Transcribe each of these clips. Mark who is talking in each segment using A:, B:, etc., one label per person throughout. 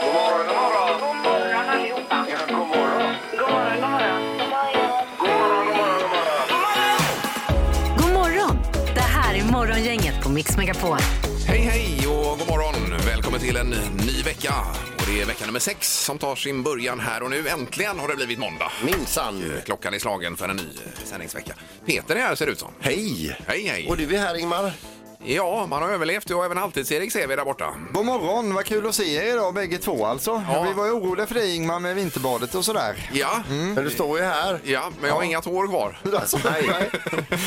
A: God morgon, god morgon. God morgon allihopa. Ja, god morgon. God morgon, god morgon. God morgon, god
B: God
A: morgon, god morgon.
B: morgon! Det här är Morgongänget på Mix Megapol.
C: Hej, hej och god morgon. Välkommen till en ny vecka. Och det är vecka nummer sex som tar sin början här och nu. Äntligen har det blivit måndag. Eh,
D: Minsann.
C: Klockan är slagen för en ny eh, sändningsvecka. Peter är här ser det ut som.
D: Hej!
C: Hej, hej.
D: Och du är här Ingmar.
C: Ja, man har överlevt. Och även Halvtids-Erik ser vi där borta.
E: God morgon, vad kul att se er idag bägge två alltså.
C: Ja.
E: Vi var ju oroliga för dig Ingmar med vinterbadet och sådär.
C: Ja,
D: Men du står ju här.
C: ja men jag har inga tår kvar.
E: Alltså,
D: Nej.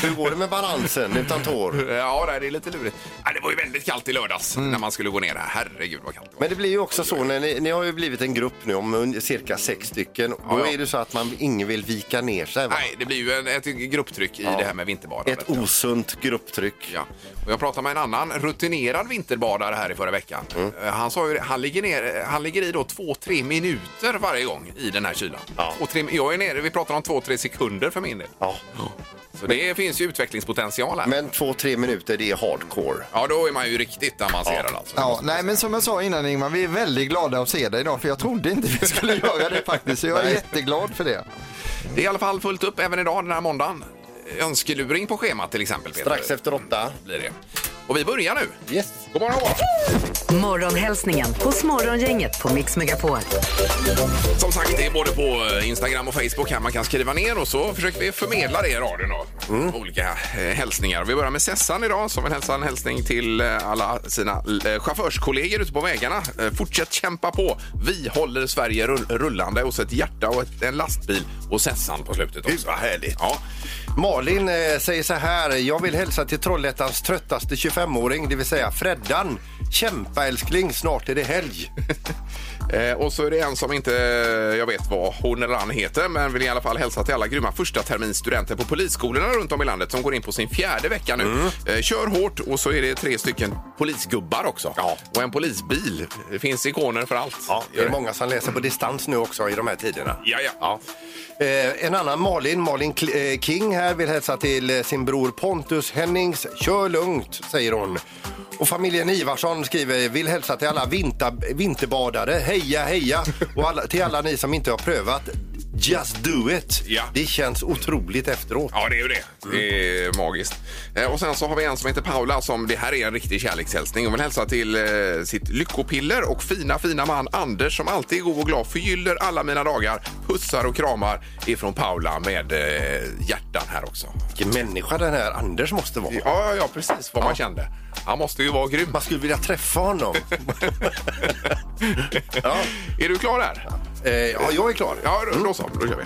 D: Hur går det med balansen utan tår?
C: Ja, nej, det är lite lurigt. Ja, det var ju väldigt kallt i lördags när man skulle gå ner här. Herregud vad kallt det
D: Mm.
C: var.
D: Men det blir ju också så, när ni, ni har ju blivit en grupp nu om un- cirka sex stycken. Då
C: ja.
D: är det så att man ingen vill vika ner sig. Va?
C: Nej, det blir ju en, ett grupptryck i det här med vinterbadandet.
D: Ett osunt grupptryck.
C: Ja. Och jag pratade med en annan rutinerad vinterbadare här i förra veckan.
D: Mm.
C: Eh, Han sa ju det, han ligger, ner, eh, han ligger i då 2-3 minuter varje gång i den här kylan.
D: Ja.
C: Och tre, jag är nere, vi pratar om 2-3 sekunder för min del.
D: Ja.
C: Så det finns ju utvecklingspotential här.
D: Men två, tre minuter, det är hardcore.
C: Ja, då är man ju riktigt avancerad alltså.
E: Ja, nej men som jag sa innan Ingmar, vi är väldigt glada att se dig idag för jag trodde inte vi skulle göra det faktiskt. Så jag är
D: Nej.
E: jätteglad för det.
C: Det är i alla fall fullt upp även idag den här måndagen. Önskeluring på schemat till exempel. Peter.
D: Strax efter åtta.
C: blir det. Och vi börjar nu.
D: Yes.
C: God morgon! god morgon.
B: Morgonhälsningen hos Morgongänget på Mix Megapol.
C: Som sagt, det är både på eh, Instagram och Facebook här man kan skriva ner och så försöker vi förmedla det i radion då. Olika eh, hälsningar. Vi börjar med Sessan idag som vill hälsa en hälsning till eh, alla sina eh, chaufförskollegor ute på vägarna. Eh, Fortsätt kämpa på. Vi håller Sverige rull- rullande och så ett hjärta och ett, en lastbil och Sessan på slutet också. Gud vad härligt! Ja.
D: Malin eh, säger så här. Jag vill hälsa till Trollhättans tröttaste 25-åring, det vill säga Freddan. Kämpa älskling, snart är det helg.
C: Eh, Och så är det en som inte, eh, jag vet vad hon eller han heter, men vill i alla fall hälsa till alla grymma första terminsstudenter på polisskolorna runt om i landet som går in på sin fjärde vecka nu.
D: Mm.
C: Eh, Kör hårt och så är det tre stycken polisgubbar också.
D: Ja.
C: Och en polisbil. Det finns ikoner för allt.
D: Ja, det är många som läser på distans nu också i de här tiderna.
C: Ja, ja.
D: Eh, en annan Malin, Malin Kl- eh, King här, vill hälsa till eh, sin bror Pontus Hennings. Kör lugnt, säger hon. Och familjen Ivarsson skriver, vill hälsa till alla vinter, vinterbadare. Heja, heja! Och alla, till alla ni som inte har prövat, just do it!
C: Ja.
D: Det känns otroligt efteråt.
C: Ja, det är ju det. Det är magiskt. Eh, Och sen så har vi en som heter Paula som, det här är en riktig kärlekshälsning. Hon vill hälsa till eh, sitt lyckopiller och fina, fina man Anders som alltid är god och glad, förgyller alla mina dagar, pussar och kramar ifrån Paula med eh, hjärtan här också.
D: Vilken människa den här Anders måste vara.
C: Ja, ja, ja precis vad man kände. Han måste ju vara grym.
D: Man skulle vilja träffa honom. ja.
C: Är du klar där?
D: Eh, ja, jag är klar.
C: Ja, då, då så. Då kör vi.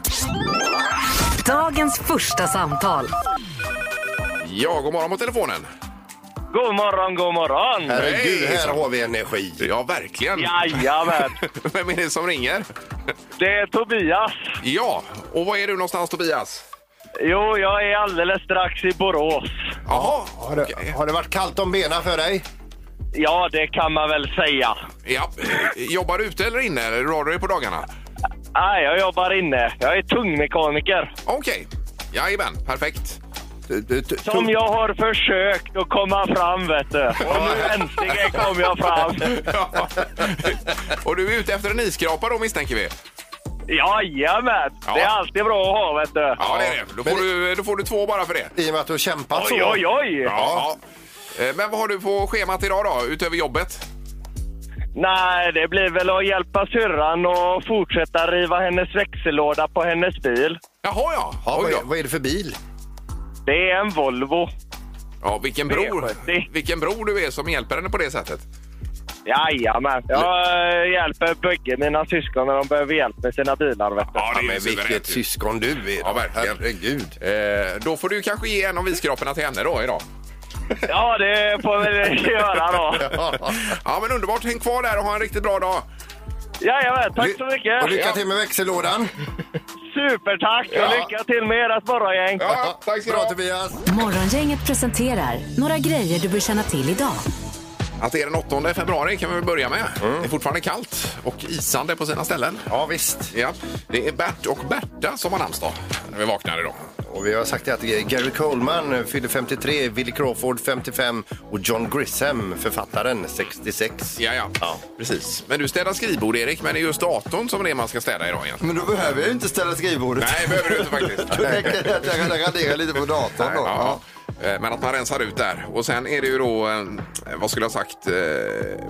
B: Dagens första samtal.
C: Ja, god morgon på telefonen.
F: God morgon, god morgon!
D: Herregud,
C: Hej!
D: här har vi energi.
C: Ja, verkligen.
F: Jajamän!
C: Vem är det som ringer?
F: Det är Tobias.
C: Ja, och var är du någonstans Tobias?
F: Jo, jag är alldeles strax i Borås.
C: Jaha,
D: Har det, har det varit kallt om benen för dig?
F: Ja, det kan man väl säga.
C: Ja. Jobbar du ute eller inne? Eller rör du dig på dagarna?
F: Nej, jag jobbar inne. Jag är tungmekaniker.
C: Okej. Jajamän, perfekt.
D: Du- du- du-
F: Som jag har försökt att komma fram, vet du. Och nu äntligen kom jag fram.
C: Ja. Och du är ute efter en isskrapa då misstänker vi?
F: Jajamän! Det är alltid bra att ha, vet du.
C: Ja, det är det. Då får,
D: Men-
C: du, då får du två bara för det.
D: I och med att du har kämpat så.
F: Oj, oj, oj!
C: Ja. Eh, Men vad har du på schemat idag då, utöver jobbet?
F: Nej, det blir väl att hjälpa syrran och fortsätta riva hennes växellåda på hennes bil.
C: Jaha ja,
D: Ja,
C: Oj
D: vad,
C: då.
D: är, vad är det för bil?
F: Det är en Volvo.
C: ja vilken, bror,
F: Det-
C: vilken bror du är som hjälper henne på det sättet.
F: Jajamän. Jag eh, hjälper bägge mina syskon när de behöver hjälp med sina bilar. Vet du.
C: Ja,
D: men vilket syskon du är.
C: Ja, verkligen.
D: Herregud.
C: Eh, Då får du kanske ge en av isskraporna till henne då idag.
F: Ja, det får vi väl göra då.
C: Ja men underbart, häng kvar där och ha en riktigt bra dag.
F: Jajamän, tack så mycket.
D: Och lycka till med växellådan.
F: Supertack och
C: Ja.
F: lycka till med ert morgongäng.
C: Ja, tack ska du
D: Bra
C: ha.
D: Tobias.
B: Morgongänget presenterar några grejer du bör känna till idag.
C: Att det är den 8 februari kan vi väl börja med. Det är fortfarande kallt och isande på sina ställen.
D: Ja, visst.
C: Ja, det är Bert och Berta som har namnsdag när vi vaknar idag.
D: Och vi har sagt att Gary Coleman fyller 53, Willy Crawford 55 och John Grisham, författaren, 66.
C: Ja, ja,
D: Ja.
C: precis. Men du städar skrivbord, Erik, men det är just datorn som är det man ska städa idag egentligen.
E: Men då behöver jag ju inte ställa skrivbordet.
C: Nej, behöver du inte faktiskt.
E: Då räcker det att jag raderar lite på datorn då.
C: Ja. Eh, Men att man rensar ut där. Och sen är det ju då, eh, vad skulle jag ha sagt? eh, eh,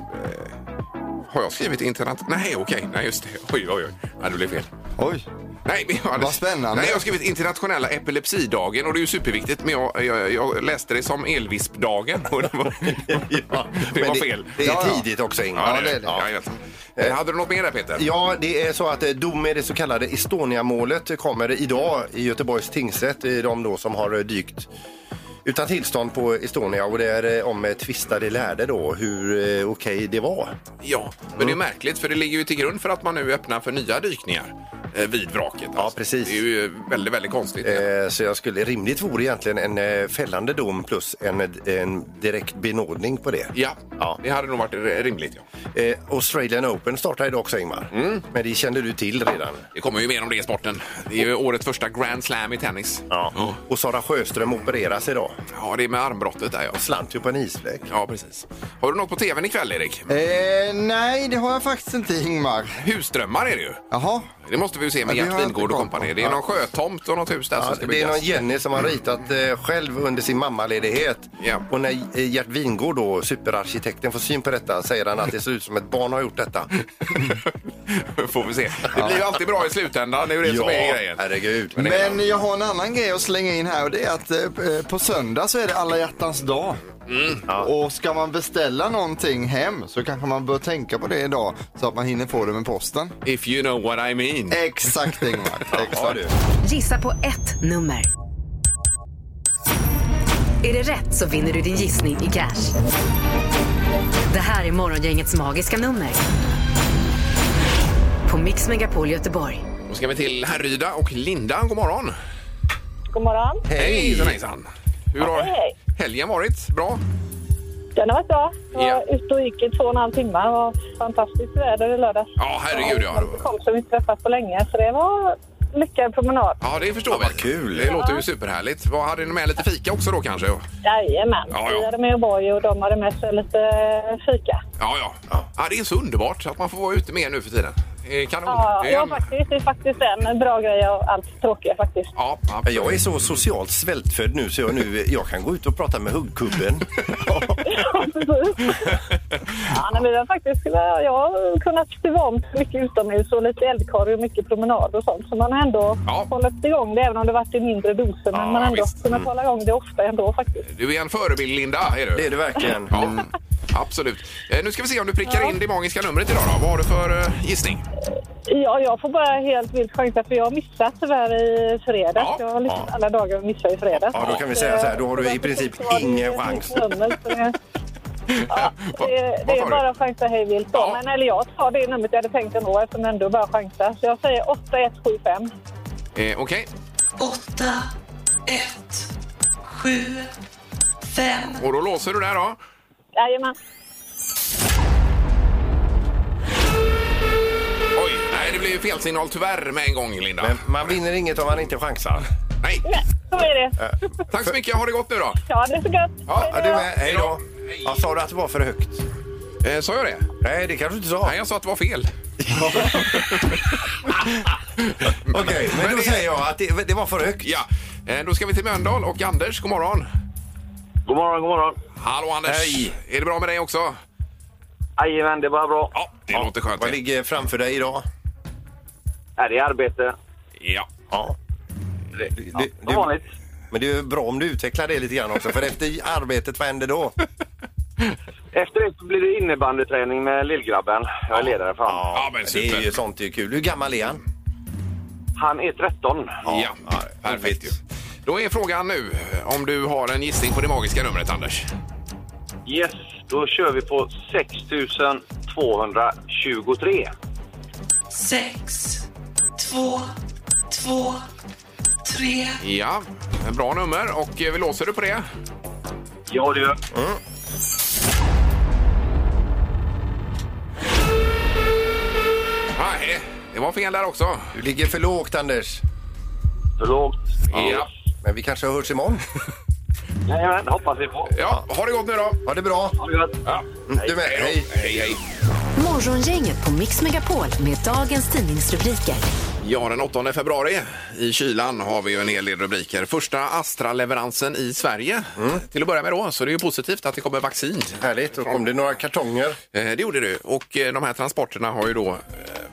C: Har jag skrivit internet? Nej, okej. Nej, just det. Oj, oj, oj. Nej, det blev fel.
E: Oj.
C: Nej, men jag hade...
E: Vad spännande.
C: Nej, jag har skrivit internationella epilepsidagen och det är ju superviktigt. Men jag, jag, jag läste det som elvispdagen och det var, det
D: Men
C: var fel.
D: Det,
E: Ja, ja.
D: är tidigt också, Ingmar.
C: Ja, det är det.
D: Ja.
C: Ja, jag vet. Eh, Hade du något mer där Peter?
D: Ja, det är så att eh, dom i det så kallade Estonia-målet kommer idag i Göteborgs tingsrätt. Det är de då som har eh, dykt utan tillstånd på Estonia och det är eh, om eh, tvistade lärde då hur eh, okej det var.
C: Ja, men det
D: Mm.
C: är märkligt för det ligger ju till grund för att man nu öppnar för nya dykningar eh, vid vraket.
D: Ja, precis.
C: Det är ju eh, väldigt, väldigt konstigt.
D: Eh, Så jag skulle, rimligt vore egentligen en eh, fällande dom plus en, en direkt benådning på det.
C: Ja,
D: Ja.
C: det hade nog varit r- rimligt. Ja.
D: Eh, Australian Open startar idag också Ingmar. Men det kände du till redan.
C: Det kommer ju mer om det i sporten. Det är ju årets första Grand Slam i tennis.
D: Ja. Och Sara Sjöström opereras idag.
C: Ja, det är med armbrottet där ja.
D: Slant ju på en isfläck.
C: Ja, precis. Har du något på tvn ikväll, Erik?
E: Eh, nej, det har jag faktiskt inte Ingmar.
C: Husdrömmar är det ju.
E: Jaha.
C: Det måste vi ju se
E: Ja,
C: med
E: det
C: Gert
E: har jag
C: Wingård
E: inte
C: och
E: koll på.
C: kompani. Det är
E: Ja.
C: någon sjötomt och något hus där som ska
D: Ja, det är någon
C: byggas. Mm.
D: Jenny som har ritat eh, själv under sin mammaledighet.
C: Ja.
D: Och när eh, Gert Wingård, då, superarkitekten, får syn på detta säger han att det ser ut som ett barn har gjort detta.
C: Får vi se. Det blir ju alltid bra i slutändan. Det är ju det som är grejen.
D: herregud.
C: Men det-
E: Men jag har en annan grej att slänga in här och det är att eh, på söndag så är det alla hjärtans dag. Och ska man beställa någonting hem så kanske man bör tänka på det idag så att man hinner få det med posten.
C: If you know what I mean.
E: Exakt Ingmar. Exakt.
B: Gissa på ett nummer. Är det rätt så vinner du din gissning i cash. Det här är Morgongängets magiska nummer. På Mix Megapol Göteborg.
C: Då ska vi till Härryda och Linda. God morgon!
G: God morgon.
C: Hej! Hejsan, hejsan! Hur har
G: hej, hej.
C: helgen varit? Bra?
G: Den har varit bra. Jag var
C: Ja.
G: ute och gick i två och en halv timme. Det var fantastiskt väder i lördags.
C: Ja, herregud, ja.
G: Det var folk som vi inte träffat på länge, så det var lyckad promenad.
C: Ja, det förstår vi.
D: kul.
C: Det låter ju superhärligt. Vad, Hade ni med lite fika också då kanske? Ja,
G: Jajamän.
C: Ja, ja.
G: Vi hade med O'boy och de hade med sig lite eh, fika.
C: ja. ja. Det är så underbart att man får vara ute mer nu för tiden. Eh, Kanon!
G: Ja,
C: Det är
G: ja,
C: en-
G: faktiskt. Det är faktiskt en bra grej av allt tråkiga faktiskt.
C: Ja,
D: Men Jag är så socialt svältfödd nu så jag, nu, jag kan gå ut och prata med huggkubben.
G: Ja, precis. ja, nej, men vi har faktiskt, jag har kunnat stuva om till mycket utomhus och lite eldkorg och mycket promenad och sånt. Så man har ändå
C: Ja.
G: hållit igång det även om det varit i mindre doser. Men
C: Ja,
G: man har ändå
C: visst. Mm.
G: kunnat hålla igång det ofta ändå faktiskt.
C: Du är en förebild, Linda. Är du?
D: Det är det verkligen.
C: Ja, absolut. Eh, Nu ska vi se om du prickar in det magiska numret idag. Då. Vad har du för eh, gissning?
G: Ja, jag får bara helt vilt chansa för jag har missat tyvärr i fredags.
C: Ja.
G: Jag har liksom alla dagar och missat i fredags.
D: Ja, då kan vi säga så här, då har du i princip ingen chans.
G: Nummer, så det, ja, det,
C: Vad
G: det
C: sa
G: är
C: du?
G: bara att chansa hej vilt. då.
C: Ja.
G: Men eller jag tar det numret jag hade tänkt ändå eftersom jag ändå bara chansa. Så jag säger 8175.
C: Eh, Okej.
H: åtta ett sju fem
C: Och då låser du där då.
G: Jajamän.
C: Oj, nej det blev ju fel signal tyvärr med en gång, Linda.
D: Men man vinner inget om man inte chansar.
C: Nej.
G: Så är det.
C: Tack så mycket. Ha det gott nu då.
G: Ja, det är så gött.
C: Ja,
D: Äh.
G: Hej
D: Ja, du
G: då.
D: med. Hej då. Ja, sa du att det var för högt?
C: Eh, sa jag det?
D: Nej, det kanske du inte sa.
C: Nej, jag sa att det var fel.
D: Okej, men då
C: det-
D: säger jag att det, det var för högt.
C: Ja. Eh, då ska vi till Mölndal och Anders, god morgon.
F: God morgon, god morgon.
C: Hallå Anders!
D: Hej.
C: Är det bra med dig också?
F: Jajamän, det var bra.
C: Ja, det låter skönt.
D: Vad ligger framför dig idag?
F: Här är arbete.
C: Ja.
F: Ja,
D: Ja. det-
F: som vanligt.
D: Men det är ju bra om du utvecklar det lite grann också, för efter arbetet, vad händer då?
F: Efter det blir det innebandyträning med lillgrabben. Jag är ledare för honom.
C: Ja, men super.
D: Det är ju sånt det är kul. Hur gammal är han?
F: Han är 13.
C: Ja,
D: ja,
C: perfekt ju.
D: roligt.
C: Då är frågan nu om du har en gissning på det magiska numret, Anders.
F: Yes, då kör vi på 6223.
H: sex två två tre
C: Ja, en bra nummer. Och eh, vi låser du på det?
F: Ja, det gör
C: Nej, det var fel där också.
D: Du ligger för lågt, Anders.
F: För lågt.
C: Ja.
D: Men vi kanske hörs imorgon.
F: Jajamän, hoppas vi på.
C: Ja, ha det gott nu då.
D: Ha det bra.
F: Ha det gött.
C: Ja.
D: Du med. Hej.
C: Hej, då. hej, hej.
B: Morgongänget på Mix Megapol med dagens tidningsrubriker.
C: Ja, den 8 februari i kylan har vi ju en hel del rubriker. Första Astra-leveransen i Sverige till att börja med då, så det är ju positivt att det kommer vaccin.
D: Härligt. Då kom det några kartonger.
C: Eh, Det gjorde du. Och eh, de här transporterna har ju då eh,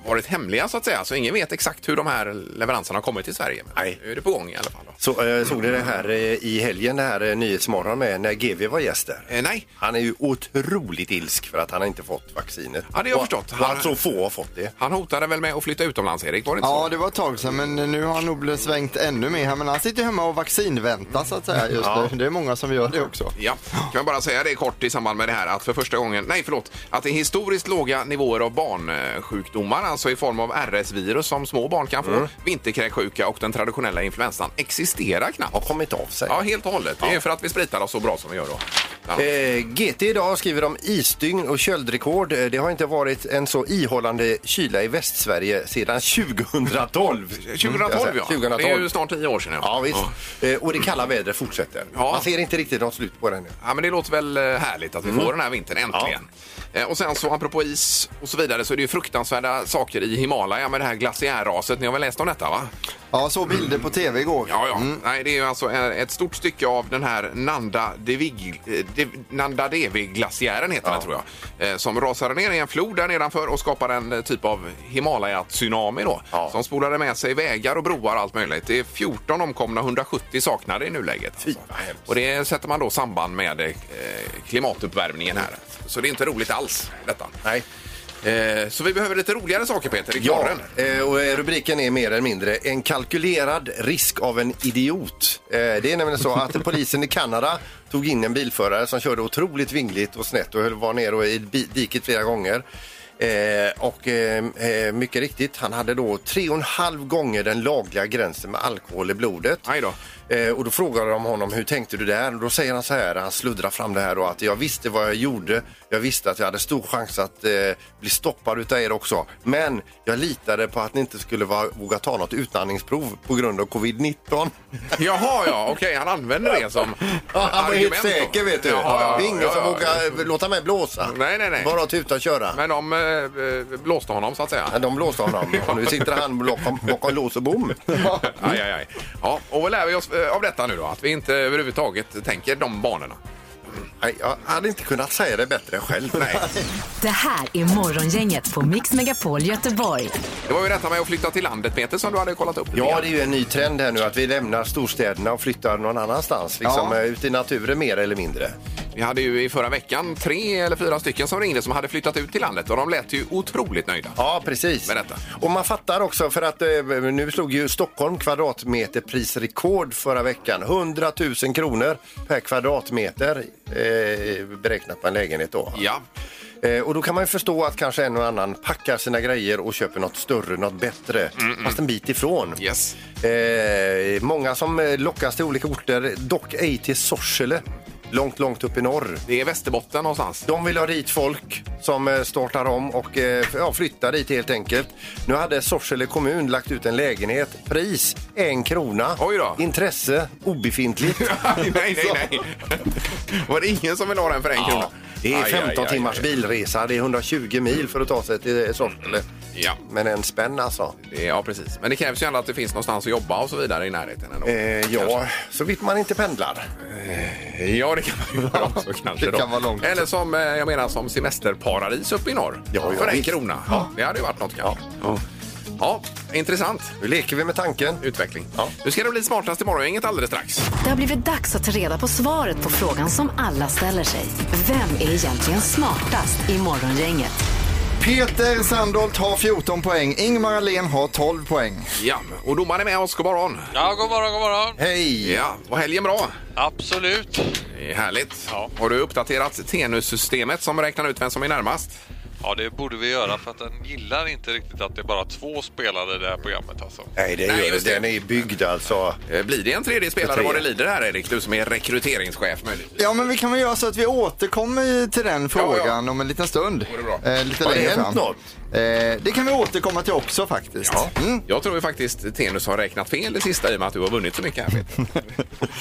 C: varit hemliga så att säga. Så ingen vet exakt hur de här leveranserna har kommit till Sverige. Men
D: Nej.
C: Nu är det på gång i alla fall. Då.
D: Så, eh, såg ni det här eh, i helgen, det här eh, Nyhetsmorgon med när GV var gäst där?
C: Eh, nej.
D: Han är ju otroligt ilsk för att han har inte fått vaccinet.
C: Ja, det har jag
D: Och-
C: förstått.
D: Och att så få har fått det.
C: Han hotade väl med att flytta utomlands, Erik? Var det inte
E: Ja,
C: så?
E: det var ett tag sedan, men nu har han nog blivit svängt ännu mer. här. Men han sitter ju hemma och vaccinväntar så att säga. Just det. det är många som gör det också.
C: Ja, kan jag bara säga det kort i samband med det här att för första gången, nej förlåt, att det är historiskt låga nivåer av barnsjukdomar, alltså i form av RS-virus som små barn kan få, vinterkräksjuka och den traditionella influensan existerar knappt.
D: Har kommit av sig.
C: Ja, helt och hållet. Det är för att vi spritar oss så bra som vi gör då. Ja.
D: Eh, GT idag skriver om isdygn och köldrekord. Eh, Det har inte varit en så ihållande kyla i Västsverige sedan 2012.
C: 2012 ja,
D: 2012.
C: det är ju snart tio år sedan.
D: Ja, visst. Eh, Och det kalla vädret fortsätter.
C: Ja.
D: Man ser inte riktigt något slut på det nu.
C: Ja, men det låter väl eh, härligt att vi får den här vintern äntligen. Eh, Och sen så apropå is och så vidare så är det ju fruktansvärda saker i Himalaya med det här glaciärraset. Ni har väl läst om detta va?
E: Ja, så bilder på tv igår.
C: Ja, ja.
D: Mm.
C: Nej, det är ju alltså eh, ett stort stycke av den här Nanda Devig, eh, Dev- Nanda Devi-glaciären heter den tror jag. eh, Som rasade ner i en flod där nedanför och skapar en eh, typ av Himalaya-tsunami då.
D: Ja.
C: Som spolade med sig vägar och broar och allt möjligt. Det är 14 omkomna och 170 saknade i nuläget. Alltså.
D: vad hemskt.
C: Och det sätter man då samband med eh, klimatuppvärmningen här. Så det är inte roligt alls detta.
D: Nej.
C: Eh, Så vi behöver lite roligare saker Peter i
D: Ja,
C: knorren.
D: eh, och eh, rubriken är mer eller mindre en kalkylerad risk av en idiot. Eh, Det är nämligen så att polisen i Kanada tog in en bilförare som körde otroligt vingligt och snett och höll var nere i bi- diket flera gånger. Eh, och eh, eh, mycket riktigt, han hade då tre och en halv gånger den lagliga gränsen med alkohol i blodet.
C: Aj då.
D: Eh, och då frågade de honom hur tänkte du där? Och då säger han så här, han sluddrar fram det här då, att jag visste vad jag gjorde. Jag visste att jag hade stor chans att eh, bli stoppad utav er också. Men jag litade på att ni inte skulle va- våga ta något utandningsprov på grund av covid-19.
C: Jaha, ja, okej, han använder det som
D: Ja, han var helt
C: argument då.
D: säker vet du.
C: Jaha, ja,
D: det är ingen
C: ja,
D: som
C: ja.
D: vågar eh, låta mig blåsa.
C: Nej, nej, nej.
D: Bara tuta och köra.
C: Men de eh, eh, blåste honom så att säga.
D: Men... De blåste honom och nu sitter han bakom, bakom lås och bom.
C: Aj, aj, aj. Ja, och vad lär vi oss eh, av detta nu då? Att vi inte överhuvudtaget tänker de banorna.
D: Nej, Jag hade inte kunnat säga det bättre själv.
C: Nej.
B: Det här är Morgongänget på Mix Megapol Göteborg.
C: Det var ju detta med att flytta till landet Peter som du hade kollat upp. lite
D: Ja,
C: grann.
D: det är ju en ny trend här nu att vi lämnar storstäderna och flyttar någon annanstans. Liksom
E: Ja.
D: eh, ut i naturen mer eller mindre.
C: Vi hade ju i förra veckan tre eller fyra stycken som ringde som hade flyttat ut till landet och de lät ju otroligt nöjda.
D: Ja, precis.
C: Med detta.
D: Och man fattar också för att eh, nu slog ju Stockholm kvadratmeterprisrekord förra veckan. 100 000 kronor per kvadratmeter eh, beräknat på en lägenhet då.
C: Ja.
D: Eh, och då kan man ju förstå att kanske en och annan packar sina grejer och köper något större, något bättre, fast en bit ifrån.
C: Mm, Yes.
D: Eh, många som eh, lockas till olika orter, dock ej till Sorsele, långt, långt upp i norr.
C: Det är Västerbotten någonstans.
D: De vill ha dit folk som eh, startar om och eh, ja, flyttar dit helt enkelt. Nu hade Sorsele kommun lagt ut en lägenhet. Pris en krona.
C: Oj då.
D: Intresse obefintligt.
C: nej, nej, nej. Var det ingen som vill ha den för en krona?
D: Det är
C: Aj, aj,
D: 15
C: aj,
D: timmars
C: aj.
D: bilresa. Det är 120 mil för att ta sig till eh, Sorsele.
C: Ja.
D: Men en spänn alltså.
C: Det- Ja, precis. Men det krävs ju ändå att det finns någonstans att jobba och så vidare i närheten. Ändå.
D: Eh, ja, så vitt man inte pendlar.
C: Ja, det kan man ju göra också kanske.
E: det
C: då.
E: kan vara långt.
C: Eller som eh, jag menar som semesterparadis uppe i norr.
D: Ja, ja,
C: För en
D: visst.
C: krona. Det hade ju varit något kanske. Ja, intressant
D: Nu leker vi med tanken.
C: utveckling.
D: Ja.
C: Nu ska det bli smartast i morgongänget alldeles strax.
B: Det har blivit dags att ta reda på svaret på frågan som alla ställer sig. Vem är egentligen smartast i Morgongänget?
E: Peter Sandholt har 14 poäng, Ingmar Ahlén har 12 poäng.
C: Ja, och domaren är med oss. God morgon.
I: Ja, god morgon, god morgon.
D: Hej!
C: Ja, var helgen bra?
I: Absolut.
C: Det är härligt.
I: Ja.
C: Har du uppdaterat Tenus-systemet som räknar ut vem som är närmast?
I: Ja, det borde vi göra för att den gillar inte riktigt att det är bara två spelare i det här programmet alltså.
D: Nej, det
C: Nej,
D: gör
C: just
D: det.
C: det.
D: Den är byggd alltså.
C: Eh, Blir det en tredje spelare
D: Tre.
C: vad det lider här, Erik? Du som är rekryteringschef möjligtvis.
E: Ja, men vi kan väl göra så att vi återkommer till den frågan
C: Ja, ja.
E: om en liten stund.
C: Vore bra.
E: Eh, lite
D: Har det
E: längre
D: hänt
E: fram.
D: något?
E: Eh, det kan vi återkomma till också faktiskt.
C: Ja.
E: Mm.
C: Jag tror ju faktiskt Tenus har räknat fel det sista i och med att du har vunnit så mycket här Peter.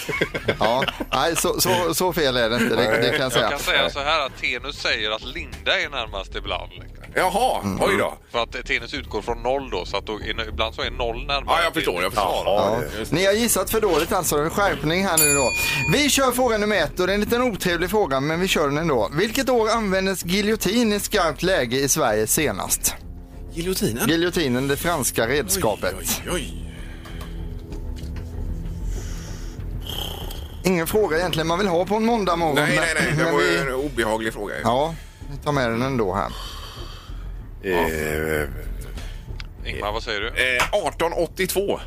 E: Ja, nej, så, så, så fel är det inte, det, det kan jag säga.
I: Jag kan säga så här att Tenus säger att Linda är närmast ibland. liksom.
C: Jaha, oj då.
I: För att Tenus utgår från noll då, så att då är, ibland så är noll närmare.
C: Ja, jag förstår. Jag förstår.
E: Ja. Ni har gissat för dåligt alltså. En skärpning här nu då. Vi kör fråga nummer ett och det är en liten otrevlig fråga men vi kör den ändå. Vilket år användes giljotin i skarpt läge i Sverige senast?
C: Giljotinen?
E: Giljotinen, det franska redskapet.
C: Oj, oj.
E: Ingen fråga egentligen man vill ha på en måndag morgon.
C: Nej, nej, nej. Det
E: men
C: var ju
E: vi...
C: en obehaglig fråga. ju.
E: Ja, vi tar med den ändå här.
D: Eh,
I: Ingmar, vad säger du?
C: Eh, 1882.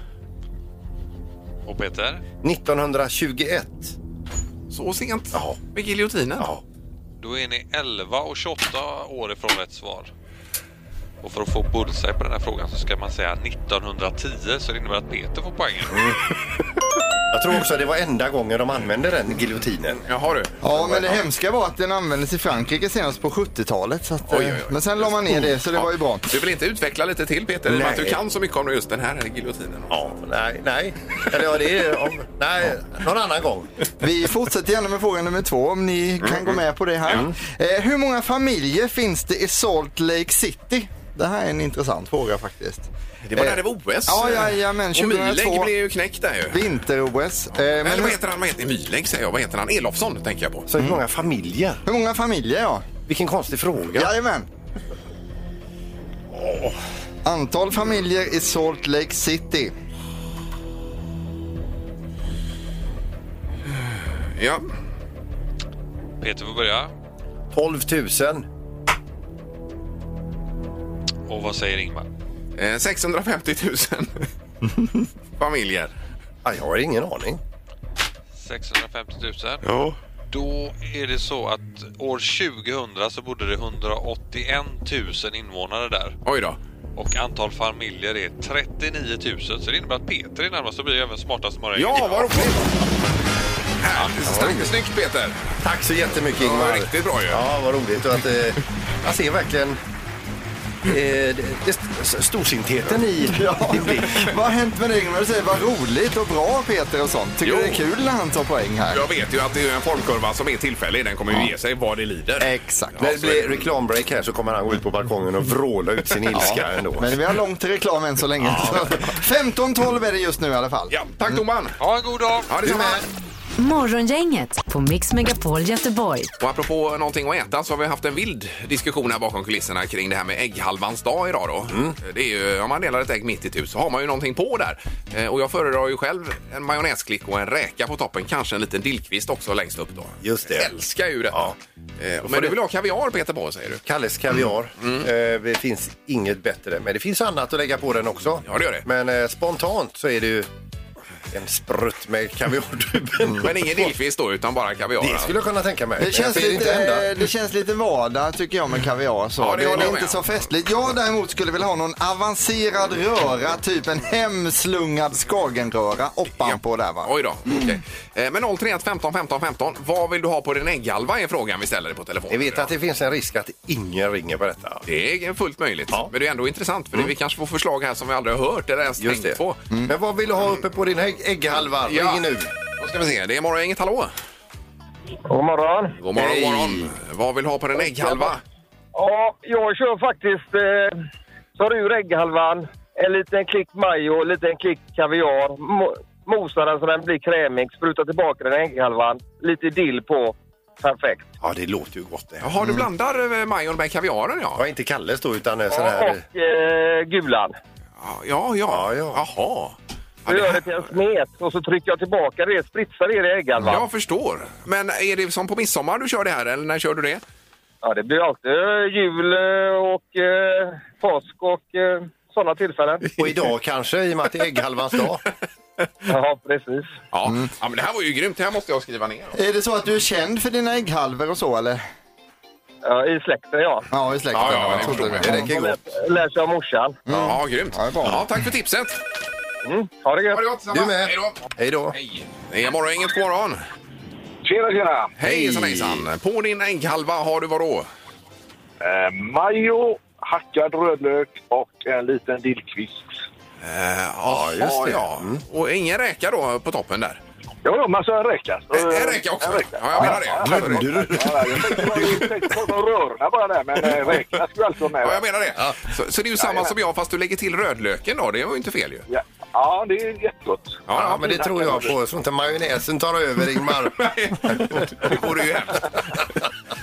I: Och Peter?
D: 1921.
C: Så sent? Ja. Med giljotinen? Ja.
I: Då är ni 11 och 28 år ifrån rätt svar. Och för att få bullseye på den här frågan så ska man säga 1910 så det innebär att Peter får poängen.
D: Jag tror också att det var enda gången de använde den giljotinen.
C: Jaha du.
E: Ja, men det hemska var att den användes i Frankrike senast på 70-talet. Så att,
C: Oj, oj, oj.
E: eh, Men sen la man ner det så det var ju bra.
C: Du vill inte utveckla lite till Peter? I och med
D: Nej.
C: att du kan så mycket om just den här giljotinen.
D: Ja, nej, nej. Eller ja, det är... Om, nej, någon annan gång.
E: Vi fortsätter gärna med fråga nummer två om ni
C: Mm,
E: kan gå med på det här. Eh, hur många familjer finns det i Salt Lake City? Det här är en intressant fråga faktiskt.
C: Det var
E: Eh,
C: där det var OS.
E: ja, jajamän,
C: Och Myleg
E: 2002.
C: blev ju knäckt där ju.
E: Vinter-OS. Eh, men
C: Eller vad
E: hur,
C: heter han? Vad heter Myleg säger jag. Vad heter han? Elofsson tänker jag på.
D: Så hur många familjer?
E: hur många familjer ja?
D: Vilken konstig fråga.
E: Jajamän. Antal familjer i Salt Lake City.
C: Ja.
I: Peter får börja.
D: 12 000.
I: Och vad säger Ingmar?
C: Eh, 650 000 familjer.
D: Ja, jag har ingen aning.
I: 650 000.
C: Ja.
I: Då är det så att år 2000 så bodde det 181 000 invånare där.
C: Oj då.
I: Och antal familjer är 39 000 så det innebär att Peter är närmast och blir även smartast morgon.
C: Ja, vad roligt! Härligt. Snyggt, Snyggt Peter!
D: Tack så jättemycket
C: Det var
D: Ingvar.
C: riktigt bra ju.
D: Ja, vad roligt. Och att, eh, jag ser verkligen eh, det, det, st- storsintheten i din blick.
E: Vad har hänt med dig Ingmar? Du säger vad roligt och bra Peter och sånt. Tycker
C: Jo.
E: du det är kul när han tar poäng här?
C: Jag vet ju att det är en formkurva som är tillfällig. Den kommer ju ge sig vad det lider.
E: Exakt.
D: När det blir reklambreak här så kommer han gå ut på balkongen och vråla ut sin ilska ändå.
E: Men vi har långt till reklam än så länge. Så 15-12 är det just nu i alla fall.
C: Ja, tack domaren!
I: Ha en god dag!
C: Ja, Mm. detsamma.
B: Morgongänget på Mix Megapol Göteborg.
C: Och apropå någonting att äta så har vi haft en vild diskussion här bakom kulisserna kring det här med ägghalvans dag idag då. Det är ju, om man delar ett ägg mitt i så har man ju någonting på där. Eh, Och jag föredrar ju själv en majonnäsklick och en räka på toppen, kanske en liten dillkvist också längst upp då.
D: Just det.
C: Jag älskar ju detta.
D: Ja.
C: Eh, Men du vill ha kaviar Peter på säger du?
D: Kalles kaviar.
C: Mm.
D: Eh, det finns inget bättre. Men det finns annat att lägga på den också.
C: Ja, det gör det.
D: Men eh, spontant så är det ju en sprutt med kaviartuben.
C: Men ingen dillkvist då utan bara kaviar?
D: Det skulle jag kunna tänka mig. Men
E: Det
D: jag
E: känns,
D: ser
E: lite,
D: inte hända.
E: eh, det känns lite vardag tycker jag med kaviar. Så.
C: Ja, det
E: det,
C: håller
E: är
C: jag med
E: inte så
C: om.
E: festligt. Jag däremot skulle vilja ha någon avancerad röra, typ en hemslungad skagenröra ovanpå där va.
C: Oj då, okej. Eh, Men 031 15 15 15, vad vill du ha på din ägghalva är frågan vi ställer dig på telefon.
D: Jag vet att det finns en risk att ingen ringer på detta.
C: Det är fullt möjligt,
D: Ja. Mm.
C: men det är ändå intressant för det, vi kanske får förslag här som vi aldrig har hört eller ens
D: Just
C: tänkt
D: det. Mm.
C: på. Mm.
D: Men vad vill du ha uppe på din ägg- ägghalva?
C: Ja.
D: Ring nu.
C: Då ska vi se, det är morgon, inget hallå?
F: God morgon.
C: God morgon,
D: Hej.
C: god morgon. Vad vill du ha på din ägghalva?
F: Ja, jag kör faktiskt, eh, tar ur ägghalvan, en liten klick majo, en liten klick kaviar. Mo- mosar den så den blir krämig, sprutar tillbaka den i ägghalvan, lite dill på. Perfekt.
D: Ja, det låter ju gott det.
C: Jaha, du blandar eh, majon med kaviaren ja.
D: Ja, inte Kalles då, utan eh, sån här...
F: Och eh, gulan.
C: Ja, ja. ja.
D: Ja, ja.
C: Jaha.
F: Du
C: Ja, det
F: gör
C: här-
F: det till en smet och så trycker jag tillbaka det, spritsar det i ägghalvan.
C: Jag förstår. Men är det som på midsommar du kör det här eller när kör du det?
F: Ja, det blir alltid eh, jul eh, och eh, påsk och eh, sådana tillfällen.
D: Och idag kanske, i och med att det är ägghalvans dag.
F: Ja, precis.
C: Ja. ja, men det här var ju grymt. Det här måste jag skriva ner.
E: Är det så att du är känd för dina ägghalvor och så eller?
F: Ja, I släkten, ja.
E: Ja, i släkten.
C: Ja, ja, jag
E: trodde
C: förstår
E: det.
D: Det räcker ju gott.
F: Lär sig av morsan.
C: Ja, grymt.
E: Ja, det är bra.
C: Ja, tack för tipset.
F: Mm. Ha det gött!
C: Ha det gott.
D: Du med.
C: Hej då.
D: Hej då.
C: Hej. Det är morgon, inget god morgon.
F: Tjena, tjena!
C: Hejsan hejsan. På din ägghalva har du vadå?
F: Eh, majo, hackad rödlök och en liten dillkvist.
C: Eh, ja, just det. Ja. Och ingen räka då på toppen där?
F: Jo, jo, men så en räka. Så,
C: En en räka också?
F: En räka.
C: Ja, jag menar det.
A: Drömde du?
F: Ja, jag tänkte bara- jag tänkte prata om rörorna bara där, men eh, räkorna skulle alltid vara med.
C: Ja,
F: va?
C: jag menar det. Så, så det är ju samma som jag fast du lägger till rödlöken då. Det var ju inte fel ju. Ja,
F: Ja, ja, det är jättegott.
A: Ja, men det tror jag på, så inte majonnäsen tar över, Ingmar.
C: Det vore ju hemskt.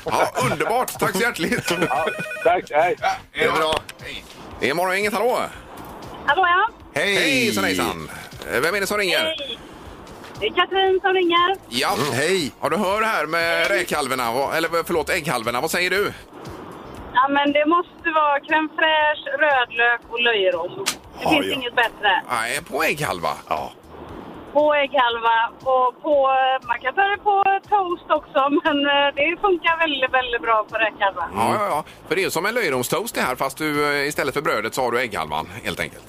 C: Ja, underbart. Tack så hjärtligt.
F: Ja, tack, hej.
A: Det är bra.
C: Det är morgon, inget hallå.
J: Hallå ja,
A: Hej!
C: Hejsan, hejsan. Eh, Vem är det som ringer?
J: det är Katrin som ringer.
C: Ja.
A: Mm, Hej!
C: Ja, du hör här med räkhalvorna, vad- eller förlåt, ägghalvorna. Vad säger du?
J: Ja, men det måste vara crème fraîche, rödlök och löjrom. Det
A: Ja,
J: finns
A: ja.
J: inget bättre.
C: Nej, på ägghalva.
A: Ja.
J: På ägghalva och på... eh, Man kan ta det på toast också, men eh, det funkar väldigt, väldigt bra på räkhalva.
C: Ja,
A: Mm.
C: ja, ja. För det är ju som en löjromstoast det här, fast du eh, istället för brödet så har du ägghalvan helt enkelt.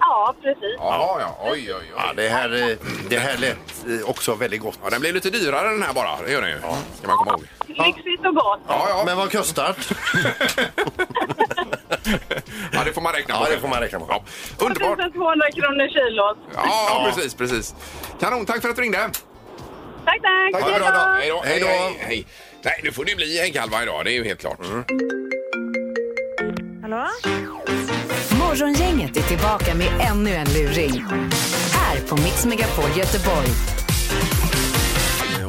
J: Ja, precis.
C: Ja, ja. Oj, oj,
A: Ja, det här, eh, det här lät eh, också väldigt gott.
C: Ja, den blir lite dyrare den här bara, det gör den ju. Ska man komma ihåg.
J: Lyxigt och gott.
C: Ja, ja.
A: Men vad kostar det?
C: ja, det får man räkna på.
A: Ja, det får man räkna på.
C: Ja. Underbart.
J: 1200 kronor kilot.
C: Ja, precis, precis. Kanon, tack för att du ringde.
J: Tack, tack!
A: Ha en bra dag.
C: Hej då.
A: Hej då. Mm.
C: Hej, hej. Nej, nu får det bli ägghalva idag, det är ju helt klart.
K: Hallå?
B: Morgongänget är tillbaka med ännu en luring. Här på Mix Megapol Göteborg.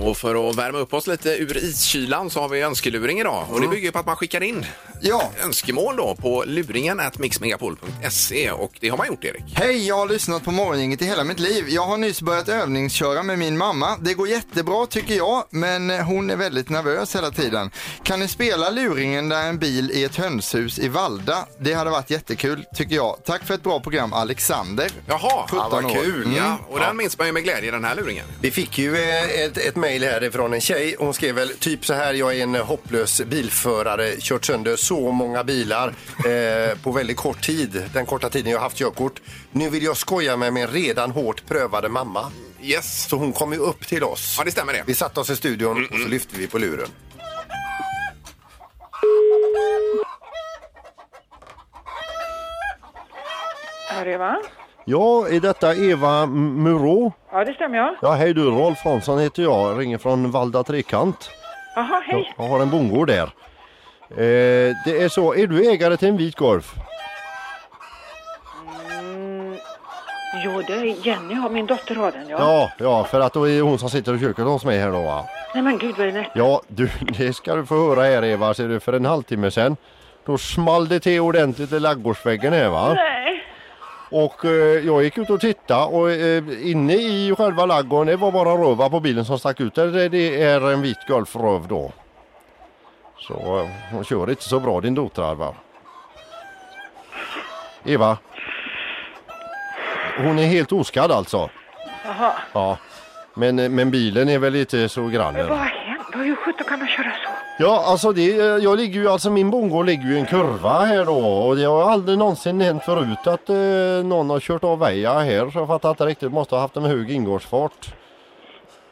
C: Och för att värma upp oss lite ur iskylan så har vi önskeluring idag. Och det bygger ju på att man skickar in
E: Ja.
C: önskemål då på luringen at mixmegapol.se och det har man gjort Erik.
E: Hej, jag har lyssnat på Morgongänget i hela mitt liv. Jag har nyss börjat övningsköra med min mamma. Det går jättebra tycker jag, men eh, hon är väldigt nervös hela tiden. Kan ni spela luringen där en bil i ett hönshus i Valda? Det hade varit jättekul tycker jag. Tack för ett bra program Alexander.
C: Jaha,
E: 17
A: vad
E: år.
A: kul.
E: Mm.
C: Ja, och den minns man ju med glädje den här luringen.
A: Vi fick ju eh, ett, ett mejl härifrån en tjej. Hon skrev väl typ så här. Jag är en hopplös bilförare. Kört sönder så många bilar eh, på väldigt kort tid. Den korta tiden jag har haft körkort. Nu vill jag skoja med min redan hårt prövade mamma.
C: Yes.
A: Så hon kom ju upp till oss.
C: Ja, det stämmer det. Mm,
A: Vi satte oss i studion och så lyfte vi på luren.
K: Ja, det va?
D: Ja, är detta Eva M- Murå?
K: Ja, det stämmer ja.
D: Ja, hej du, Rolf Hansson heter jag, ringer från Valda Trekant.
K: Jaha,
D: Jag,
K: hej.
D: jag har en bondgård där. Eh, det är så, är du ägare till en vit Golf?
K: Jo, det är Jenny har min dotter har den ja.
D: Ja, ja, för att då är det hon som sitter i köket hos mig här då va?
K: Nej men gud vad är det?
D: Ja, du, det ska du få höra här Eva, ser du, för en halvtimme sedan. Då small det till ordentligt i laggårdsväggen här va?
K: Nej.
D: Och eh, jag gick ut och tittade och eh, inne i själva laggården det var bara röva på bilen som stack ut. Det, det är en vit golfröv då. Så eh, hon kör inte så bra din dotter va? Eva. Hon är helt oskadd alltså.
K: Jaha.
D: Ja. Men, eh, men bilen är väl inte så
K: Men vad
D: grann.
K: har hänt? Hur sjutton kan man köra så?
D: Ja alltså det, eh, jag ligger ju alltså min bondgård ligger ju i en kurva här då och det har aldrig någonsin hänt förut att eh, någon har kört av väja här så jag fattar inte riktigt, måste ha haft en hög ingångsfart.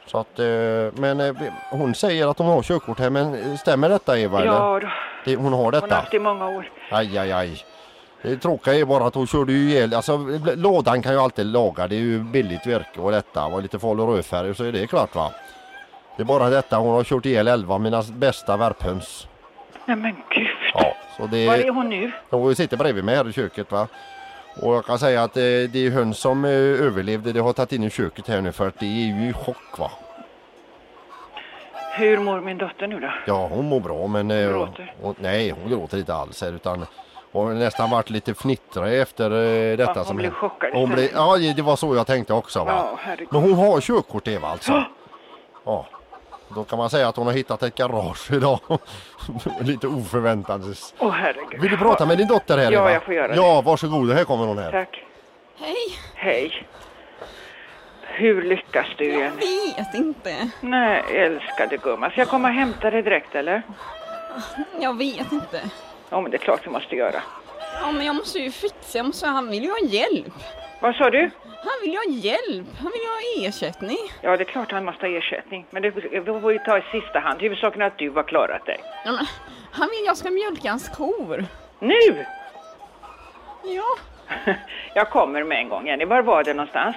D: Så att, eh, men eh, hon säger att hon har körkort här men eh, stämmer detta Eva? eller?
K: Ja, då.
D: Det, hon har
K: hon har
D: detta?
K: haft det i många år.
D: Aj aj aj. Det tråkiga är bara att hon körde ju ihjäl, alltså bl- lådan kan ju alltid laga, det är ju billigt virke och detta och lite farlig rödfärg så är det klart va. Det är bara detta, hon har kört ihjäl 11 av mina bästa värphöns.
K: Nej men gud.
D: Ja, så
K: Var är
D: det,
K: hon nu?
D: de sitter bredvid mig här i köket va. Och jag kan säga att eh, det är höns som eh, överlevde, det har tagit in i köket här nu för att det är ju i chock va.
K: Hur mår min dotter nu då?
D: Ja, hon mår bra men... eh,
K: Gråter.
D: Hon, nej, hon gråter inte alls här utan hon har nästan varit lite fnittrig efter eh, detta.
K: Ja, hon
D: som
K: blev
D: hände.
K: chockad
D: Hon blev,
K: istället.
D: ja, det var så jag tänkte också va.
K: Ja, herregud.
D: men hon har körkort Eva alltså. ja. Då kan man säga att hon har hittat ett garage idag. lite oförväntandes.
K: Åh herregud.
D: Vill du prata med din dotter här
K: Ja,
D: Eva?
K: jag får göra det.
D: Ja, varsågod. Här kommer hon här.
K: Tack. Hej. Hej. Hur lyckas du Jenny?
H: vet inte.
K: Nej, älskade gumman. Ska jag komma och hämta dig direkt eller?
H: Jag vet inte.
K: Ja, men det är klart vi måste göra.
H: Ja, men jag måste ju fixa. Jag måste, han vill ju ha hjälp.
K: Vad sa du?
H: Han vill ju ha hjälp. Han vill ju ha ersättning.
K: Ja, det är klart han måste ha ersättning. Men det det får vi ta i sista hand. Huvudsaken är att du har klarat dig.
H: Ja, men, han vill jag ska mjölka hans kor.
K: Nu!
H: Ja.
K: Jag kommer med en gång, Jenny. Var var det någonstans?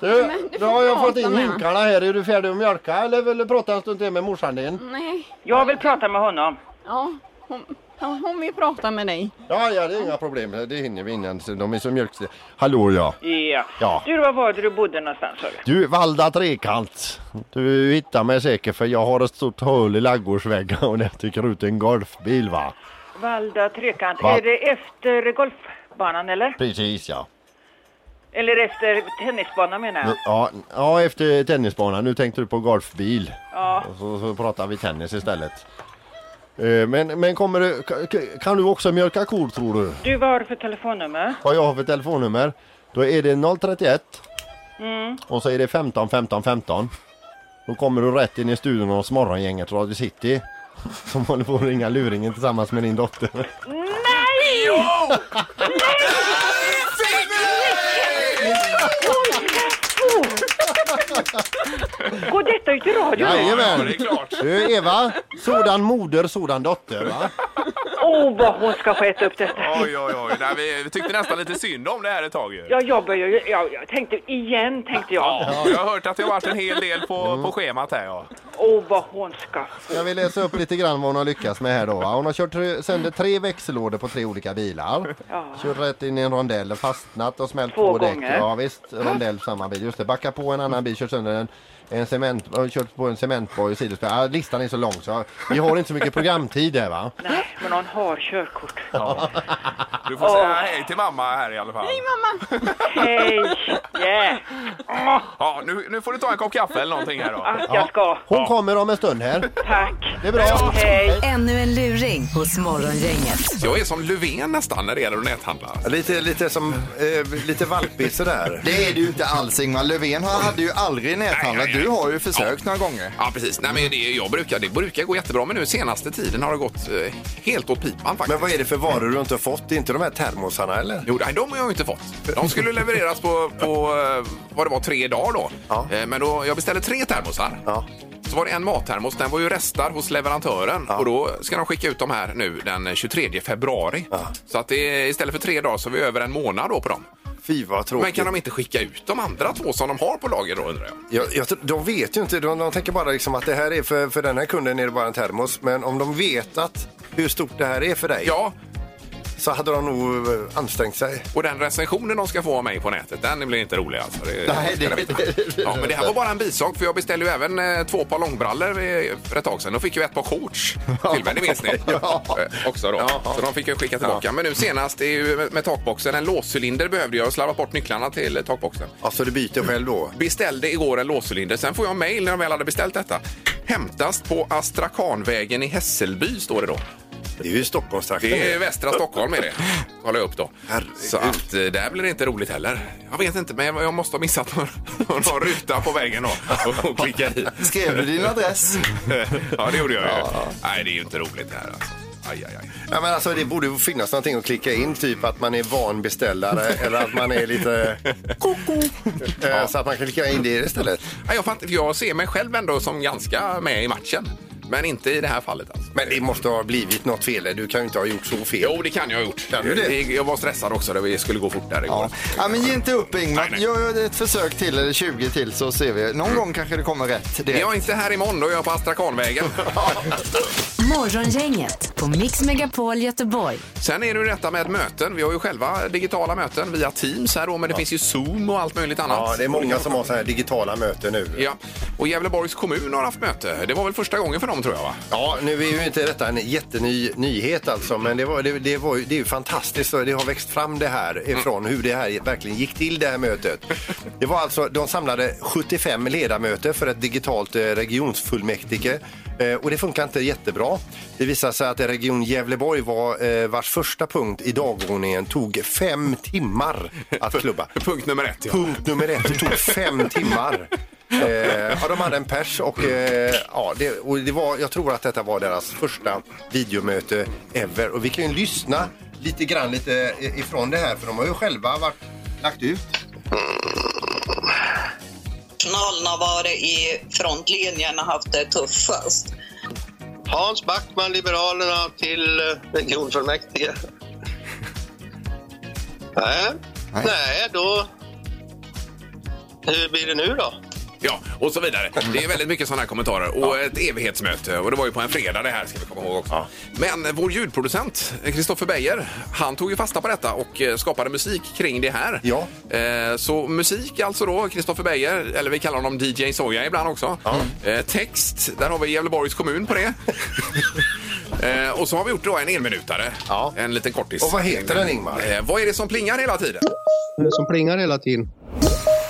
L: Du,
K: Men du
L: nu
K: får
L: har jag
K: prata
L: fått in
K: med
L: hinkarna här. Är du färdig att mjölka eller vill du prata en stund till med morsan
K: Mm.
L: din?
H: Nej.
K: Jag vill prata med honom.
H: Ja, hon, ja, hon vill prata med dig.
L: Ja, ja, det är inga problem. Det hinner vi innan de är så mjölkstiga. Hallå ja.
K: Ja.
L: Ja.
K: Du, var var det du bodde någonstans? sa du?
L: Du, Valda Trekant. Du hittar mig säkert för jag har ett stort hål i ladugårdsväggen och där tycker ut en golfbil va?
K: Valda Trekant.
L: Va-
K: Är det efter golfbanan eller?
L: Precis ja.
K: Eller efter tennisbanan menar jag?
L: Ja, ja efter tennisbanan. Nu tänkte du på golfbil.
K: Ja.
L: Och Så, så pratar vi tennis istället. Eh, Men, men kommer du, ka- ka- kan du också mjölka kor tror du?
K: Du, vad har du för telefonnummer?
L: Vad jag har för telefonnummer? Då är det 031
K: Mm.
L: och så är det 15 15 15. Då kommer du rätt in i studion hos morgongänget Radio City. Som håller på att ringa luringen tillsammans med din dotter.
A: Nej! Jo!
K: Går detta ut i radio?
L: Jajamän!
K: det är klart.
L: Du Eva, sådan moder, sådan dotter va?
K: Åh, oh, vad hon ska få äta upp detta.
C: Oj, oj, oj. Nej, vi, vi tyckte nästan lite synd om det här ett tag ju.
K: Ja, jag börjar ju... Jag, jag tänkte igen, tänkte jag.
C: Ja, jag har hört att det har varit en hel del på, på schemat här ja.
K: Åh, vad hon ska...
L: Ska vi läsa upp lite grann vad hon har lyckats med här då? va? Hon har kört tre- sönder tre växellådor på tre olika bilar.
K: Ja.
L: Kört rätt in i en rondell, fastnat och smält
K: Två
L: två däck.
K: gånger.
L: Ja visst, rondell på samma bil. Just det, backat på en annan bil, kört sönder en, en cement, och kört på en cementboj och sidospår. Ja, listan är så lång så vi har inte så mycket programtid här va?
K: Nej, men hon har körkort.
C: Du får säga hej till mamma här i alla fall.
H: mamma!
K: Hej! Yeah!
C: Ja, nu, nu får du ta en kopp kaffe eller någonting här då.
L: Ja, Hon kommer om en stund här.
K: Tack!
L: Det är bra.
B: Ännu en luring hos Morgongänget.
C: Jag är som Löfven nästan när det gäller att näthandla.
D: Lite, lite som eh, lite valpig sådär.
E: Det är det ju inte alls Ingmar. Löfven han hade ju aldrig näthandlat. Du har ju försökt några gånger.
C: Ja, precis. Nej, men det, jag brukar, det brukar gå jättebra, men nu senaste tiden har det gått eh, helt åt pipan faktiskt.
D: Men vad är det för varor du inte har fått? Inte de här termosarna eller?
C: Jo, nej, de har jag inte fått. De skulle levereras på, på eh, vad det var, tre dagar då. Eh, Men då, jag beställde tre termosar. Så var det en mattermos, den var ju restad hos leverantören och då ska de skicka ut dem här nu den 23 februari. Så att det, är- istället för tre dagar så är vi över en månad då på dem.
D: Fy vad tråkigt.
C: Men kan de inte skicka ut de andra två som de har på lager då undrar jag?
D: Jag, jag, tror- de vet ju inte, de, de tänker bara liksom att det här är för, för den här kunden är det bara en termos. Men om de vetat hur stort det här är för dig
C: ja.
D: så hade de nog eh, ansträngt sig.
C: Och den recensionen de ska få av mig på nätet, den blir inte rolig alltså. Det,
D: Nej, det-
C: ska de veta. ja, men det här var bara en bisak, för jag beställde ju även eh, två par långbrallor eh, för ett tag sedan. Då fick jag ett par shorts till mig, det minns ni?
E: Ja.
C: Eh, Också då. Så de fick jag skicka tillbaka. Men nu senast är ju med- med takboxen, en låscylinder behövde jag och slarvat bort nycklarna till eh, takboxen.
D: Ja, så Alltså, du byter själv då?
C: Beställde igår en låscylinder, sen får jag mail när de väl hade beställt detta. Hämtas på Astrakanvägen i Hässelby står det då.
D: Det är ju i Stockholmstrakten.
C: Det är västra Stockholm är det. Kollar jag upp då. Så att eh, där blir det inte roligt heller. Jag vet inte, men jag jag måste ha missat någon, någon ruta på vägen då och, och klicka dit.
E: Skrev du din adress?
C: Ja, det gjorde jag ju. Nej, det är ju inte roligt det här alltså. Aj, aj, aj.
D: Ja, men alltså, det borde ju finnas någonting att klicka in, typ att man är van beställare eller att man är lite... Koko! Så att man kan klicka in det istället.
C: Nej, Jag, fattar, för jag ser mig själv ändå som ganska med i matchen. Men inte i det här fallet alltså.
D: Men det måste ha blivit något fel. Du kan ju inte ha gjort så fel.
C: Jo, det kan jag ha gjort.
D: Kan du det?
C: Jag var stressad också. Det skulle gå fort där igår.
E: Ja. ja, men ge inte upp Ingmar. Gör ett försök till eller 20 till så ser vi. Någon gång kanske det kommer rätt. direkt.
C: Jag är inte här imorgon, då är jag på Astrakanvägen.
B: Morgongänget på Mix Megapol Göteborg.
C: Sen är det ju detta med möten. Vi har ju själva digitala möten via Teams här då, men det finns ju Zoom och allt möjligt annat.
D: Ja, det är många som har så här digitala möten nu.
C: Ja, och Gävleborgs kommun har haft möte. Det var väl första gången för dem tror jag va?
D: Ja, nu är ju inte detta en jätteny nyhet alltså, men det, var, det, det, var, ju- det är ju fantastiskt och det har växt fram det här ifrån hur det här verkligen gick till det här mötet. Det var alltså, de samlade 75 ledamöter för ett digitalt eh, regionsfullmäktige eh, och det funkar inte jättebra. Det visade sig att Region Gävleborg var eh, vars första punkt i dagordningen tog fem timmar att klubba.
C: Punkt nummer ett ja.
D: Punkt nummer ett, det tog fem timmar. Eh, ja, de hade en pers och, eh, ja, det, och det var, jag tror att detta var deras första videomöte ever. Och vi kan ju lyssna lite grann lite eh, ifrån det här för de har ju själva varit, lagt ut.
M: personalen har varit i frontlinjen och haft det tuffast.
N: Hans Backman, Liberalerna, till eh, regionfullmäktige.
A: Nej. Nej, då... Hur blir det nu då?
C: Ja, och så vidare. Det är väldigt mycket sådana här kommentarer. Och ett evighetsmöte. Och det var ju på en fredag det här ska vi komma ihåg också. Men vår ljudproducent, Kristoffer Beijer, han tog ju fasta på detta och eh, skapade musik kring det här. Eh, Så musik alltså då, Kristoffer Beijer, eller vi kallar honom DJ Soja ibland också. Eh, Text, där har vi Gävleborgs kommun på det. Eh, Och så har vi gjort då en enminutare. En liten kortis.
D: Och vad heter den, Ingmar?
C: Eh, Vad är det som plingar hela tiden?
N: Det som plingar hela tiden.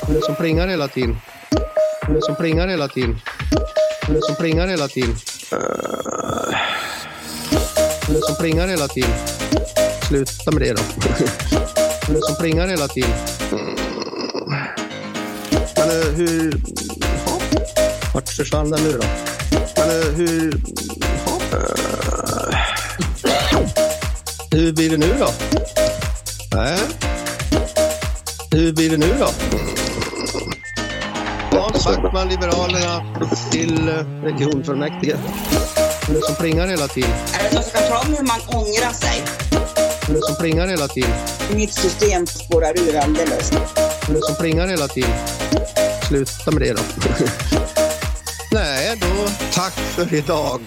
N: Det som plingar hela tiden. Det som plingar hela tiden. Det som plingar hela tiden. Det som plingar hela tiden. Sluta med det då. Det som plingar hela tiden. Men eh, hur... ja. Vart försvann den nu då? Men eh, hur... ja. Hur blir det nu då? Nej. Hur blir det nu då? Lars Backman, Liberalerna, till eh, regionfullmäktige. Det som plingar hela tiden.
M: Man ska tala om hur man ångrar sig.
N: Det som plingar hela tiden.
M: Mitt system spårar ur alldeles.
N: Det som plingar hela tiden. Sluta med det då. Nej, då tack för idag.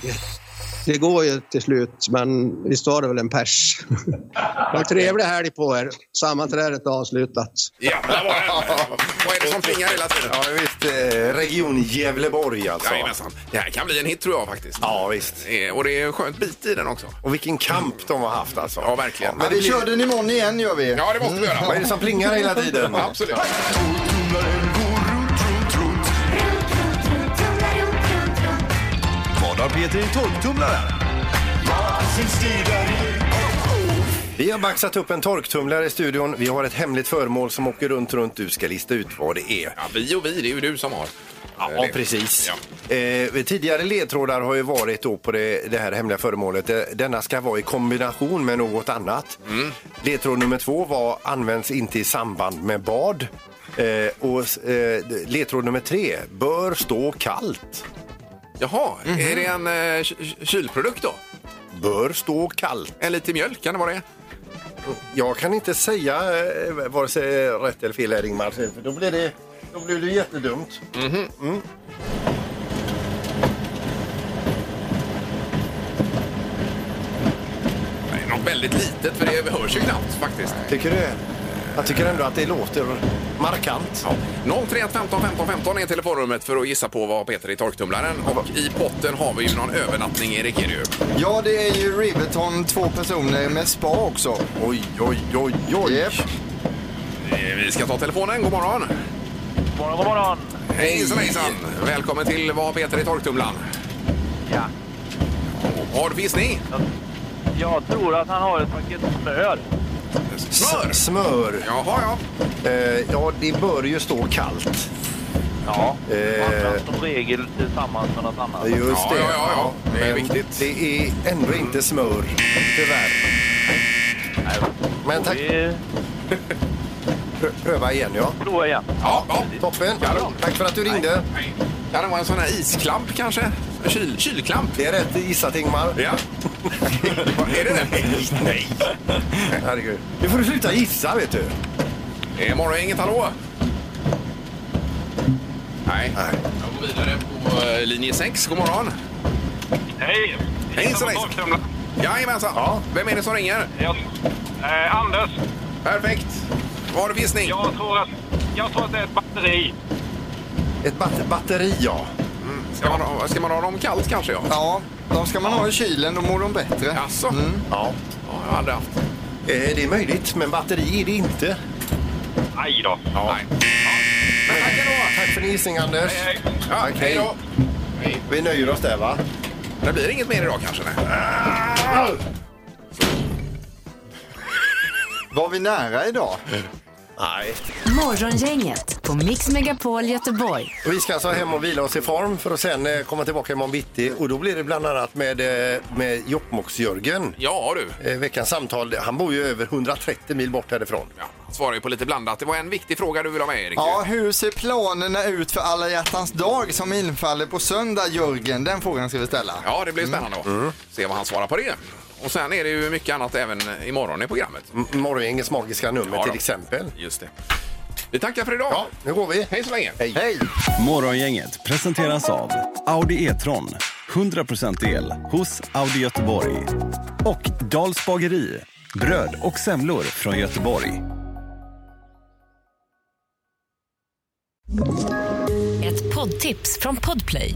N: Det går ju till slut, men visst var det väl en pers. Ha en trevlig helg på er. Sammanträdet är avslutat.
C: Ja, där var den. Vad är det som plingar hela tiden?
D: Ja, visst. eh, Region Gävleborg alltså.
C: Jajamensan. Det här kan bli en hit tror jag faktiskt.
D: Ja, visst.
C: Och det är en skönt bit i den också.
D: Och vilken kamp de har haft alltså.
C: Ja, verkligen.
E: Men vi kör den imorgon igen gör vi.
C: Ja, det måste vi göra.
D: Vad är det som plingar hela tiden?
C: Absolut.
O: Vad har Peter i torktumlaren?
D: Vi har baxat upp en torktumlare i studion. Vi har ett hemligt föremål som åker runt, runt. Du ska lista ut vad det är.
C: Ja, vi och vi, det är ju du som har.
D: Ja, precis. Eh, tidigare ledtrådar har ju varit då på det, det här hemliga föremålet. Eh, Denna ska vara i kombination med något annat. Ledtråd nummer två var används inte i samband med bad. Eh, och eh, ledtråd nummer tre, bör stå kallt.
C: Jaha, är det en eh, ky- ky- kylprodukt då?
D: Bör stå kallt.
C: En liten mjölk, kan det vara det?
D: Jag kan inte säga eh, vare sig rätt eller fel här Ingmar, för då blir det, då blir det jättedumt. Mm.
C: Nej, något väldigt litet, för det hörs ju knappt faktiskt.
D: Tycker du? Jag tycker ändå att det låter markant.
C: Ja. 031 15 15 15 är telefonrummet för att gissa på vad Peter i torktumlaren. Och i potten har vi ju någon övernattning, Erik, är det ju.
E: Ja, det är ju Riverton, två personer med spa också.
D: Oj, oj, oj, oj.
C: Eh, Vi ska ta telefonen. God morgon!
P: morgon, god morgon.
C: Hejsan, hejsan! Välkommen till vad Peter i torktumlaren.
P: Ja.
C: Har du gissning?
P: Jag tror att han har ett paket smör.
D: Smör? smör.
C: Jaha,
D: ja. Eh, ja, det bör ju stå kallt.
P: Ja,
D: Eh.
P: används som regel tillsammans med något annat.
D: Just det.
P: Det är
D: Men
P: viktigt.
D: Det är ändå inte smör, tyvärr. Men tack. Prö- Pröva igen, ja.
P: Prova igen.
C: Ja,
D: Toppen. Tack för att du ringde.
C: Kan det vara en sån här isklamp kanske? En Kyl, kylklamp?
D: Det är rätt gissat, Ingmar.
C: Ja. är det det? Nej.
D: Herregud. Nu får du sluta gissa, vet du.
C: Det är morgongänget, hallå? Nej. Jag går vidare på eh, linje 6. God morgon.
Q: Hej!
C: Hejsan, hejsan. Jajamensan. Vem är det som ringer?
Q: Jag, eh, Anders.
C: Perfekt. Vad har du för gissning?
Q: Jag tror, att, jag tror att det är ett batteri.
D: Ett bat- batteri, ja.
C: Ska man, ha- ska man ha dem kallt kanske? Ja. Mm.
E: Ja, de ska man ha i kylen, då mår de bättre.
C: Jaså?
D: Ja.
C: ja, jag har aldrig haft.
D: Eh, det är möjligt, men batteri är det inte.
Q: Aj då.
C: Ja.
D: Tack för din gissning, Anders. Hej, hej.
C: Ja, hej då.
D: Vi nöjer oss där, va?
C: Det blir inget mer idag kanske? Nej.
E: Var vi nära idag?
D: Nej.
B: Morgongänget på Mix Megapol Göteborg.
D: Och Vi ska alltså hem och vila oss i form för att sen eh, komma tillbaka imorgon bitti och då blir det bland annat med, eh, med Jokkmokks-Jörgen.
C: Ja du.
D: Eh, veckans samtal, han bor ju över 130 mil bort härifrån.
C: Svarar ju på lite blandat. Det var en viktig fråga du ville ha med Erik.
E: Ja, hur ser planerna ut för alla hjärtans dag som infaller på söndag, Jörgen? Den frågan ska vi ställa.
C: Mm. Ja, det blir spännande att se vad han svarar på det. Och sen är det ju mycket annat även imorgon i programmet.
R: Morgongängets magiska nummer
C: Ja då.
R: till exempel.
C: Just det. Vi tackar för idag. Ja,
R: nu går vi.
C: Hej så länge.
R: Hej.
O: Morgongänget presenteras av Audi E-tron. 100% el hos Audi Göteborg. Och Dals bageri. Bröd och semlor från Göteborg.
S: Ett poddtips från Podplay.